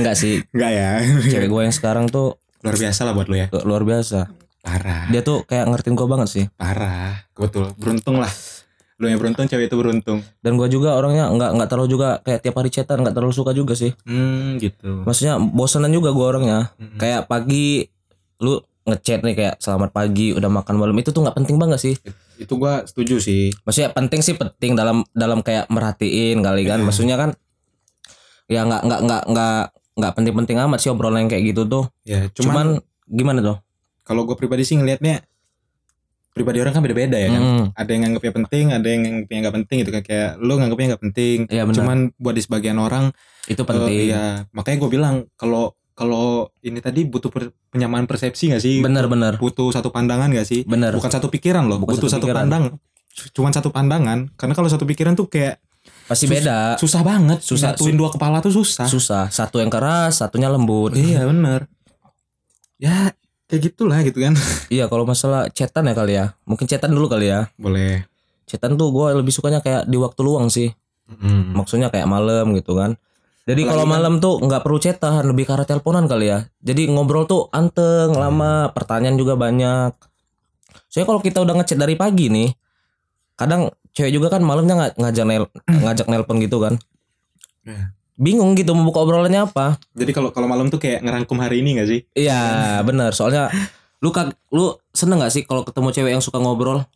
S2: enggak sih
S1: Enggak ya?
S2: cewek gue yang sekarang tuh
S1: *laughs* Luar biasa lah buat lu ya?
S2: ke- luar biasa
S1: Parah,
S2: dia tuh kayak ngertiin gue banget sih
S1: parah. Betul, beruntung lah. Lu yang beruntung, cewek itu beruntung.
S2: dan gue juga orangnya nggak nggak terlalu juga kayak tiap hari chatan nggak terlalu suka juga sih
S1: Hmm gitu.
S2: maksudnya bosanan juga gue orangnya
S1: Mm-mm.
S2: kayak pagi lu ngechat nih kayak selamat pagi udah makan malam itu tuh nggak penting banget sih
S1: Itu gua setuju sih.
S2: maksudnya penting sih penting dalam dalam kayak merhatiin kali kan
S1: Iya.
S2: maksudnya kan ya nggak nggak nggak nggak nggak penting-penting amat sih obrolan yang kayak gitu tuh
S1: Ya cuman,
S2: cuman, gimana tuh
S1: kalau gua pribadi sih ngelihatnya pribadi orang kan beda-beda ya kan.
S2: Mm,
S1: Ada yang nganggapnya penting, ada yang nganggapnya nggak penting gitu kan. Kayak lu nganggapnya nggak penting.
S2: Iya, benar.
S1: Cuman buat di sebagian orang
S2: itu penting
S1: eh, iya. makanya gua bilang kalau kalau ini tadi butuh per- penyamaan persepsi gak sih?
S2: bener bener
S1: Butuh satu pandangan gak sih?
S2: bener
S1: Bukan satu pikiran loh,
S2: Bukan
S1: butuh satu,
S2: satu pikiran.
S1: pandang. cu- Cuman satu pandangan. Karena kalau satu pikiran tuh kayak
S2: pasti
S1: sus-
S2: beda
S1: susah banget.
S2: Ah, Susah,
S1: Nyatuin dua kepala tuh susah.
S2: susah satu yang keras satunya lembut
S1: Iya bener Ya kayak gitulah gitu
S2: *laughs*
S1: kan
S2: iya kalau masalah chatan ya kali ya mungkin chatan dulu kali ya
S1: Boleh
S2: chatan tuh gue lebih sukanya kayak di waktu luang sih maksudnya kayak malam gitu kan jadi
S1: Apalagi
S2: kalau
S1: kan-
S2: malam tuh nggak perlu cetan lebih ke arah teleponan kali ya jadi ngobrol tuh anteng lama pertanyaan juga banyak soalnya kalau kita udah ngechat dari pagi nih kadang cewek juga kan malamnya nga- ngajak nel ngajak nelpon gitu kan
S1: Iya.
S2: bingung gitu mau buka obrolannya apa
S1: Jadi kalau kalau malam tuh kayak ngerangkum hari ini gak sih?
S2: iya bener soalnya lu kag lu seneng gak sih kalau ketemu cewek yang suka ngobrol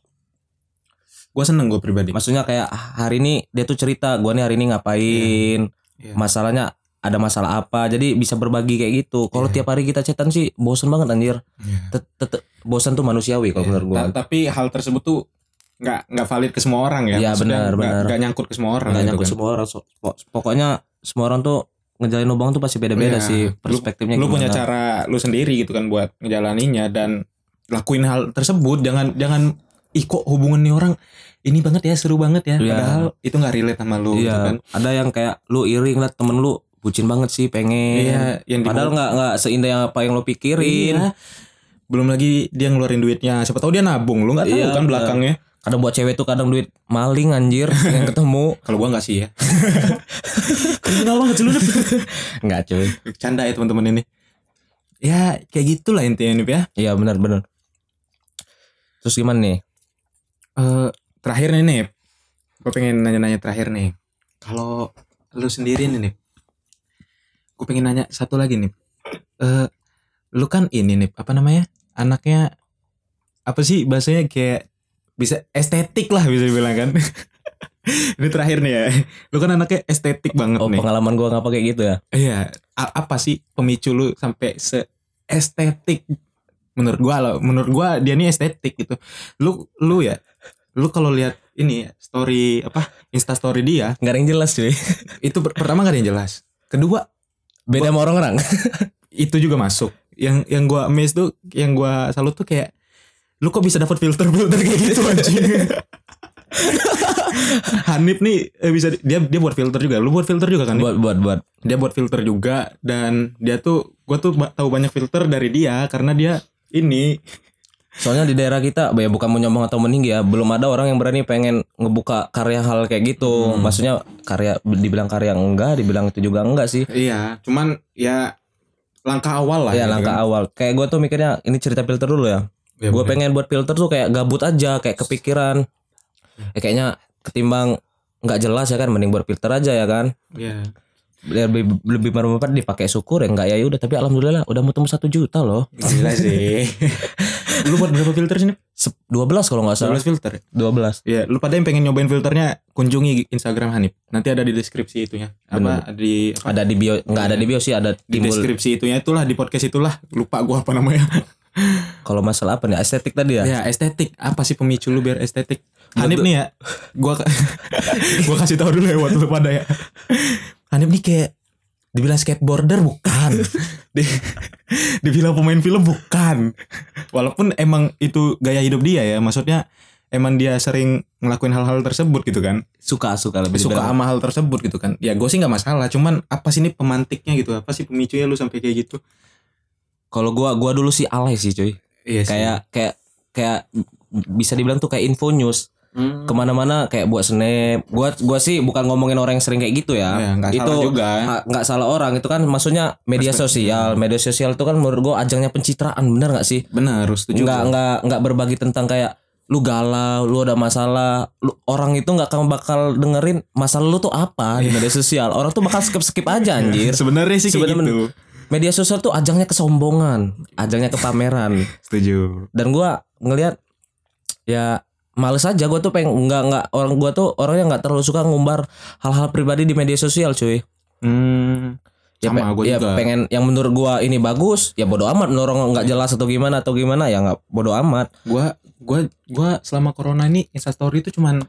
S1: Gue seneng gue pribadi
S2: maksudnya kayak "Ah, hari ini dia tuh cerita gua nih hari ini ngapain
S1: Iya.
S2: masalahnya ada masalah apa jadi bisa berbagi kayak gitu kalau
S1: Iya.
S2: tiap hari kita chatan sih bosen banget anjir
S1: Iya.
S2: Tet- tet- bosan tuh manusiawi kalau menurut gua
S1: Ta- Tapi hal tersebut tuh nggak nggak valid ke semua orang ya
S2: Iya,
S1: Maksudnya
S2: benar,
S1: nggak-
S2: benar.
S1: nggak nyangkut ke semua orang
S2: nggak
S1: gitu
S2: nyangkut
S1: kan.
S2: semua orang so- po- pokoknya semua orang tuh ngejalin lubang tuh pasti beda-beda
S1: Iya.
S2: sih
S1: Lu-
S2: perspektifnya
S1: Lu
S2: Ya, gimana.
S1: punya cara lu sendiri gitu kan buat ngejalaninya Dan lakuin hal tersebut Jangan jangan Ih kok hubungan nih orang Ini banget ya seru banget ya
S2: Iya.
S1: Padahal itu nggak relate sama lu
S2: iya
S1: gitu kan
S2: ada yang kayak lu iri ngeliat temen lu bucin banget sih pengen
S1: Iya, yang di-
S2: padahal nggak nggak seindah yang apa yang lu pikirin
S1: Iya. Belum lagi dia ngeluarin duitnya. Siapa tahu dia nabung. Lu nggak tahu
S2: Iya,
S1: kan
S2: benar.
S1: belakangnya.
S2: kadang buat cewek tuh kadang duit maling anjir *laughs* yang ketemu
S1: Kalau gua nggak sih ya. *laughs* Kriminal banget sih lu. Nip.
S2: *laughs* nggak cuy
S1: Canda ya teman-teman ini. Ya kayak gitulah intinya Nip ya.
S2: iya benar-benar terus gimana nih
S1: Eh terakhir nih Nip. Gue pengen nanya-nanya terakhir nih. Kalau lu sendiri nih Nip. Gue pengen nanya satu lagi Nip. Eh lu kan ini Nip. Apa namanya? Anaknya apa sih bahasanya kayak bisa estetik lah bisa dibilang kan. *laughs* ini terakhir nih ya. Lu kan anaknya estetik banget
S2: oh
S1: nih.
S2: pengalaman gua nggak pakai gitu ya
S1: Iya, a- apa sih pemicu lu sampai se estetik? Menurut gua loh, menurut gua dia nih estetik gitu. Lu lu ya, lu kalau lihat ini ya, story apa Insta story dia
S2: nggak ada yang jelas cuy *laughs*
S1: itu per- pertama gak ada yang jelas. Kedua
S2: beda sama orang-orang
S1: itu juga masuk. Yang yang gua miss tuh, yang gua salut tuh kayak lu kok bisa dapat filter filter kayak gitu anjing. Hanif nih eh, bisa di- dia dia buat filter juga. Lu buat filter juga kan? Nif?
S2: buat buat buat
S1: dia buat filter juga dan dia tuh gue tuh ba- tahu banyak filter dari dia karena dia ini
S2: soalnya di daerah kita ya bukan menyombong atau meninggi ya belum ada orang yang berani pengen ngebuka karya hal kayak gitu
S1: Hmm.
S2: maksudnya karya dibilang karya enggak dibilang itu juga enggak sih
S1: iya cuman ya langkah awal lah iya gitu kan?
S2: ya langkah awal kayak gue tuh mikirnya ini cerita filter dulu ya
S1: Ya,
S2: gue
S1: bener.
S2: pengen buat filter tuh kayak gabut aja kayak kepikiran ya, kayaknya ketimbang nggak jelas ya kan mending buat filter aja ya kan
S1: iya
S2: lebih lebih bermanfaat dipakai syukur ya enggak ya udah tapi alhamdulillah udah mau tembus satu juta loh
S1: gila sih *laughs* lu buat berapa filter sih Nip?
S2: Sep- 12 kalau nggak salah
S1: 12 filter
S2: 12
S1: Iya, lu pada yang pengen nyobain filternya kunjungi Instagram Hanif. Nanti ada di deskripsi itunya. Apa di apa?
S2: ada di bio nggak ada di bio sih ada
S1: di
S2: timbul
S1: deskripsi itunya itulah di podcast itulah. Lupa gua apa namanya.
S2: kalau masalah apa nih estetik tadi ya
S1: Ya estetik Apa sih pemicu lu biar estetik Hanif nih ya Gua *laughs* gua kasih tahu dulu ya Buat lu pada ya Hanif nih kayak Dibilang skateboarder bukan *laughs* Di- Dibilang pemain film bukan Walaupun emang itu gaya hidup dia ya Maksudnya Emang dia sering ngelakuin hal-hal tersebut gitu kan
S2: suka suka lebih
S1: Suka
S2: dibilang.
S1: sama hal tersebut gitu kan Ya gue sih gak masalah Cuman apa sih ini pemantiknya gitu Apa sih pemicunya lu sampai kayak gitu
S2: kalau gua gua dulu sih alay sih cuy
S1: Iya
S2: kayak kayak kayak bisa dibilang tuh kayak info news
S1: Hmm.
S2: kemana-mana kayak buat snap gua gua sih bukan ngomongin orang yang sering kayak gitu ya,
S1: Ya, nggak
S2: itu
S1: salah juga.
S2: ha- nggak salah orang itu kan maksudnya media sosial media sosial itu kan menurut gua ajangnya pencitraan bener nggak sih
S1: Benar, setuju.
S2: nggak nggak nggak berbagi tentang kayak lu galau, lu ada masalah, lu, orang itu nggak akan bakal dengerin masalah lu tuh apa di media sosial. Orang tuh bakal skip skip aja
S1: *laughs*
S2: anjir.
S1: Sebenarnya sih kayak
S2: Sebenarnya-
S1: gitu.
S2: Media sosial tuh ajangnya kesombongan, ajangnya kepameran.
S1: Setuju.
S2: Dan gua ngelihat ya males aja gua tuh pengen nggak nggak orang gua tuh orangnya nggak terlalu suka ngumbar hal-hal pribadi di media sosial cuy.
S1: Hmm.
S2: Ya,
S1: Sama
S2: pe-
S1: gua
S2: ya
S1: juga.
S2: pengen yang menurut gua ini bagus ya bodo amat menurut orang nggak jelas atau gimana atau gimana ya nggak bodo
S1: *laughs*
S2: amat
S1: Gua gua gua selama corona ini instastory itu cuman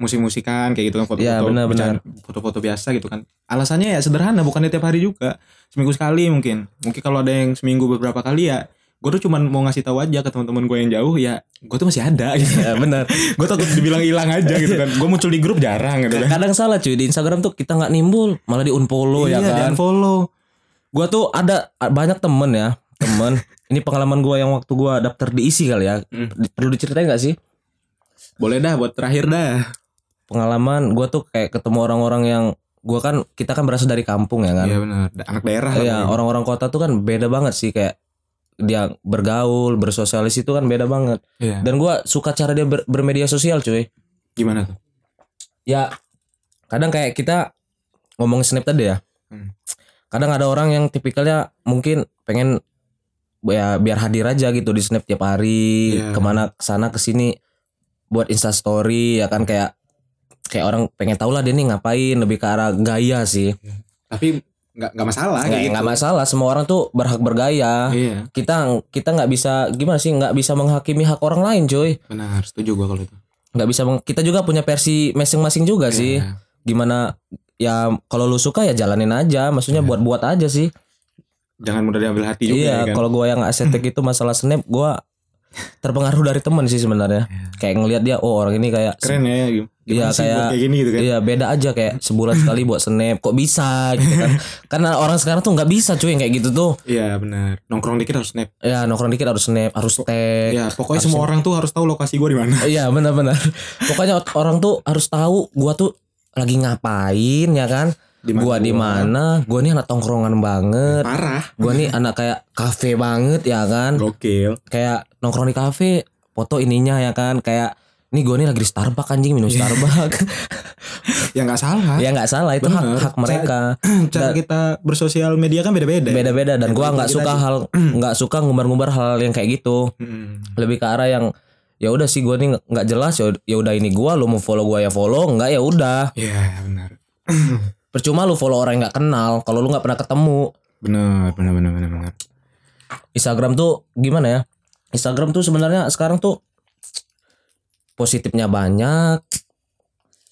S1: musik-musikan kayak gitu kan foto-foto
S2: Ya, benar,
S1: bercanda- foto-foto biasa gitu kan alasannya ya sederhana bukannya tiap hari juga seminggu sekali mungkin mungkin kalau ada yang seminggu beberapa kali ya gue tuh cuman mau ngasih tahu aja ke teman-teman gue yang jauh ya gue tuh masih ada gitu *laughs*
S2: ya benar
S1: gue takut dibilang hilang aja gitu kan gue muncul di grup jarang gitu kan
S2: kadang salah cuy di Instagram tuh kita nggak nimbul malah di unfollow ya
S1: Iya,
S2: kan
S1: jangan follow
S2: gua tuh ada a- banyak temen ya
S1: *laughs*
S2: temen ini pengalaman gua yang waktu gua daftar diisi kali ya
S1: Hmm.
S2: Di- perlu diceritain gak sih
S1: boleh dah buat terakhir dah
S2: pengalaman gua tuh kayak ketemu orang-orang yang gua kan kita kan berasal dari kampung ya kan
S1: iya benar anak daerah lah
S2: Iya,
S1: pokoknya.
S2: orang-orang kota tuh kan beda banget sih kayak dia bergaul bersosialis itu kan beda banget
S1: Iya.
S2: dan gua suka cara dia ber- bermedia sosial cuy
S1: gimana tuh
S2: ya kadang kayak kita ngomongin snap tadi ya
S1: Hmm.
S2: kadang ada orang yang tipikalnya mungkin pengen ya biar hadir aja gitu di snap tiap hari
S1: Iya.
S2: kemana kesana kesini buat insta story ya kan kayak kayak orang pengen tau lah dia nih ngapain lebih ke arah gaya sih
S1: tapi nggak nggak masalah
S2: nggak
S1: kayak
S2: nggak
S1: gitu.
S2: masalah semua orang tuh berhak bergaya
S1: iya
S2: kita kita nggak bisa gimana sih nggak bisa menghakimi hak orang lain coy
S1: benar setuju gue kalau itu
S2: nggak bisa meng- kita juga punya versi masing-masing juga sih
S1: Iya.
S2: gimana ya kalau lu suka ya jalanin aja maksudnya buat-buat aja sih
S1: jangan mudah diambil hati Iya. juga
S2: iya
S1: ya kan
S2: kalau gua yang estetik itu masalah snap gua terpengaruh dari temen sih sebenarnya kayak ngelihat dia oh orang ini kayak
S1: Iya. keren ya gitu.
S2: Iya,
S1: Gimana sih buat
S2: kayak-
S1: kayak gini gitu kan
S2: Iya beda aja kayak sebulan sekali buat snap kok bisa gitu
S1: *laughs*
S2: kan karena orang sekarang tuh nggak bisa cuy yang kayak gitu tuh
S1: iya benar nongkrong dikit harus snap
S2: ya nongkrong dikit harus snap harus tag
S1: ya pokoknya semua orang tuh harus tahu lokasi gue di mana
S2: iya benar-benar pokoknya ot- orang tuh harus tahu gua tuh lagi ngapain ya kan
S1: Di mana
S2: gua di
S1: gua.
S2: mana gua nih anak tongkrongan banget
S1: parah
S2: gua
S1: *laughs*
S2: nih anak kayak kafe banget ya kan
S1: gokil
S2: kayak nongkrong di kafe foto ininya ya kan kayak nih gue nih lagi di Starbucks anjing minum
S1: Iya.
S2: Starbucks
S1: ya nggak salah
S2: ya nggak salah itu hak
S1: Bener.
S2: hak mereka
S1: *clears throat* cara
S2: Dan-
S1: kita bersosial media kan beda-beda
S2: beda beda
S1: Yang
S2: dan gue
S1: itu
S2: nggak
S1: kita
S2: suka
S1: di-
S2: hal
S1: *clears throat*
S2: nggak suka ngumbar ngumbar hal yang kayak gitu
S1: Mm.
S2: lebih ke arah yang ya udah sih gue nih nggak- nggak jelas ya ya udah ini gue lo mau follow gue ya follow nggak ya udah
S1: iya benar
S2: percuma lu follow orang yang nggak kenal kalau lu nggak pernah ketemu
S1: benar benar benar benar benar
S2: Instagram tuh gimana ya? Instagram tuh sebenarnya sekarang tuh positifnya banyak,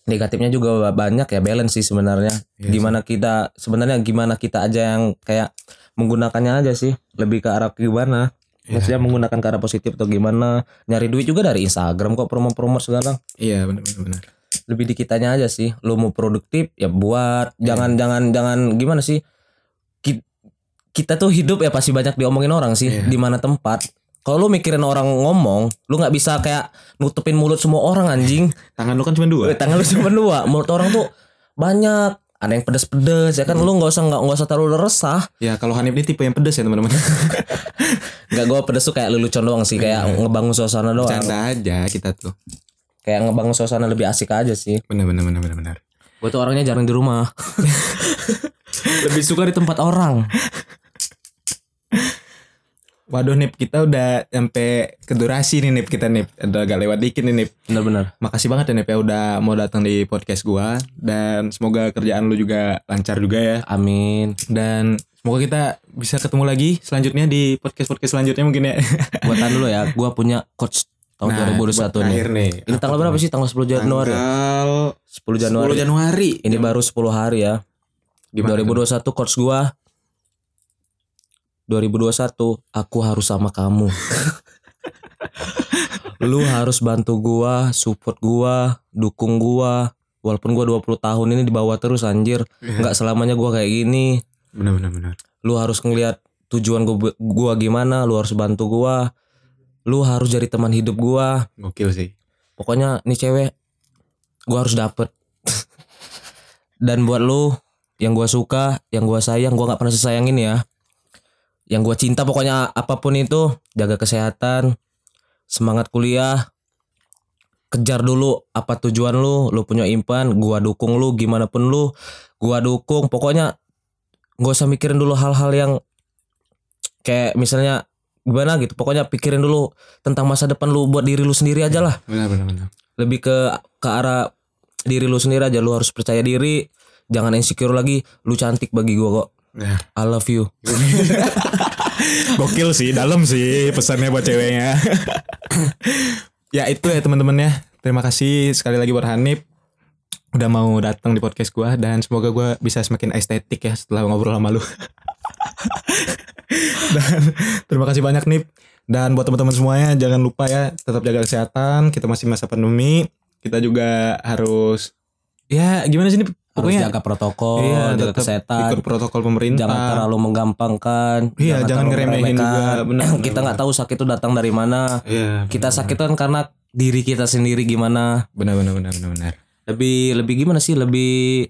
S2: negatifnya juga ba- banyak ya balance sih sebenarnya.
S1: Iya
S2: gimana kita sebenarnya gimana kita aja yang kayak menggunakannya aja sih, lebih ke arah gimana?
S1: Iya.
S2: Maksudnya menggunakan ke arah positif atau gimana? Nyari duit juga dari Instagram kok promo-promo segala.
S1: iya benar benar benar
S2: Lebih di kitanya aja sih. Lu mau produktif ya buat. Jangan jangan jangan gimana sih? Ki- Kita tuh hidup ya pasti banyak diomongin orang sih
S1: Iya.
S2: di mana tempat. Kalau lu mikirin orang ngomong, lu nggak bisa kayak nutupin mulut semua orang *laughs* anjing.
S1: tangan lu kan cuma dua
S2: Weh, Tangan lu cuma dua, mulut orang tuh banyak. Ada yang pedes-pedes ya kan lu nggak usah nggak nggak usah terlalu resah.
S1: ya kalau Hanif ini tipe yang pedes ya
S2: *laughs*
S1: teman-teman
S2: Nggak gua pedes tuh kayak lelucon doang sih, kayak ngebangun suasana doang.
S1: Canda aja kita tuh
S2: Kayak ngebangun suasana lebih asik aja sih.
S1: benar benar benar benar benar
S2: Gue tuh orangnya jarang di *laughs* rumah. lebih suka di tempat orang.
S1: Waduh Nip, kita udah sampai ke durasi nih Nip kita Nip. Udah agak lewat dikit nih Nip.
S2: Bener-bener.
S1: Makasih banget ya Nip ya udah mau datang di podcast gua dan semoga kerjaan lu juga lancar juga ya.
S2: Amin.
S1: Dan semoga kita bisa ketemu lagi selanjutnya di podcast-podcast selanjutnya mungkin ya.
S2: Buatan dulu ya, gua punya coach *laughs* tahun
S1: Nah,
S2: 2021 nih.
S1: terakhir nih.
S2: Ini tanggal berapa sih? Tanggal 10 Januari. ya?
S1: Tanggal
S2: 10 Januari.
S1: 10 Januari.
S2: Ini baru 10 hari ya.
S1: Gimana
S2: 2021 coach gua 2021 aku harus sama
S1: *laughs*
S2: kamu. Lu harus bantu gua, support gua, dukung gua. Walaupun gua 20 tahun ini dibawa terus anjir.
S1: Iya.
S2: nggak selamanya gua kayak gini.
S1: Benar benar benar.
S2: Lu harus ngelihat tujuan gua, gua gimana, lu harus bantu gua. lu harus jadi teman hidup gua
S1: Gokil sih.
S2: pokoknya nih cewek gua harus dapet *laughs* dan buat lu yang gua suka yang gua sayang gua nggak pernah sesayangin ya yang gua cinta pokoknya apapun itu jaga kesehatan semangat kuliah kejar dulu apa tujuan lu lu punya impan gua dukung lu gimana pun lu gua dukung pokoknya gak usah mikirin dulu hal-hal yang kayak misalnya gimana gitu pokoknya pikirin dulu tentang masa depan lu buat diri lu sendiri aja lah
S1: Benar benar benar.
S2: lebih ke ke arah diri lu sendiri aja lu harus percaya diri jangan insecure lagi lu cantik bagi gua kok
S1: Ya.
S2: I love you
S1: Gokil sih, dalam sih pesannya buat ceweknya. *laughs* ya itu ya teman-teman ya. Terima kasih sekali lagi buat Hanif udah mau datang di podcast gua dan semoga gua bisa semakin estetik ya setelah ngobrol sama lu. *laughs* dan terima kasih banyak Nip. Dan buat teman-teman semuanya jangan lupa ya tetap jaga kesehatan. Kita masih masa pandemi. Kita juga harus ya gimana sih Nip?
S2: harus
S1: Pokoknya
S2: jaga protokol
S1: iya,
S2: jaga
S1: tetap
S2: kesehatan
S1: ikut protokol pemerintah.
S2: jangan terlalu menggampangkan
S1: Iya, jangan
S2: terlalu
S1: ngeremehin
S2: *clears throat*
S1: juga,
S2: meremehkan.
S1: benar, benar,
S2: kita nggak tahu sakit itu datang dari mana
S1: Iya.
S2: kita sakit kan karena diri kita sendiri gimana
S1: Benar benar benar benar benar.
S2: lebih lebih gimana sih lebih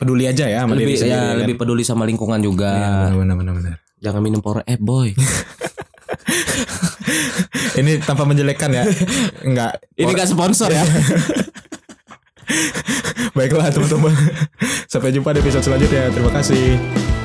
S1: peduli aja ya sama
S2: lebih
S1: diri sendiri
S2: ya,
S1: kan.
S2: lebih ya. peduli sama lingkungan juga
S1: Iya, benar benar benar
S2: jangan minum power eh boy
S1: *laughs* ini tanpa menjelekkan
S2: *laughs*
S1: ya nggak
S2: ini gak sponsor *laughs*
S1: *laughs*
S2: ya
S1: baiklah teman-teman sampai jumpa di episode selanjutnya terima kasih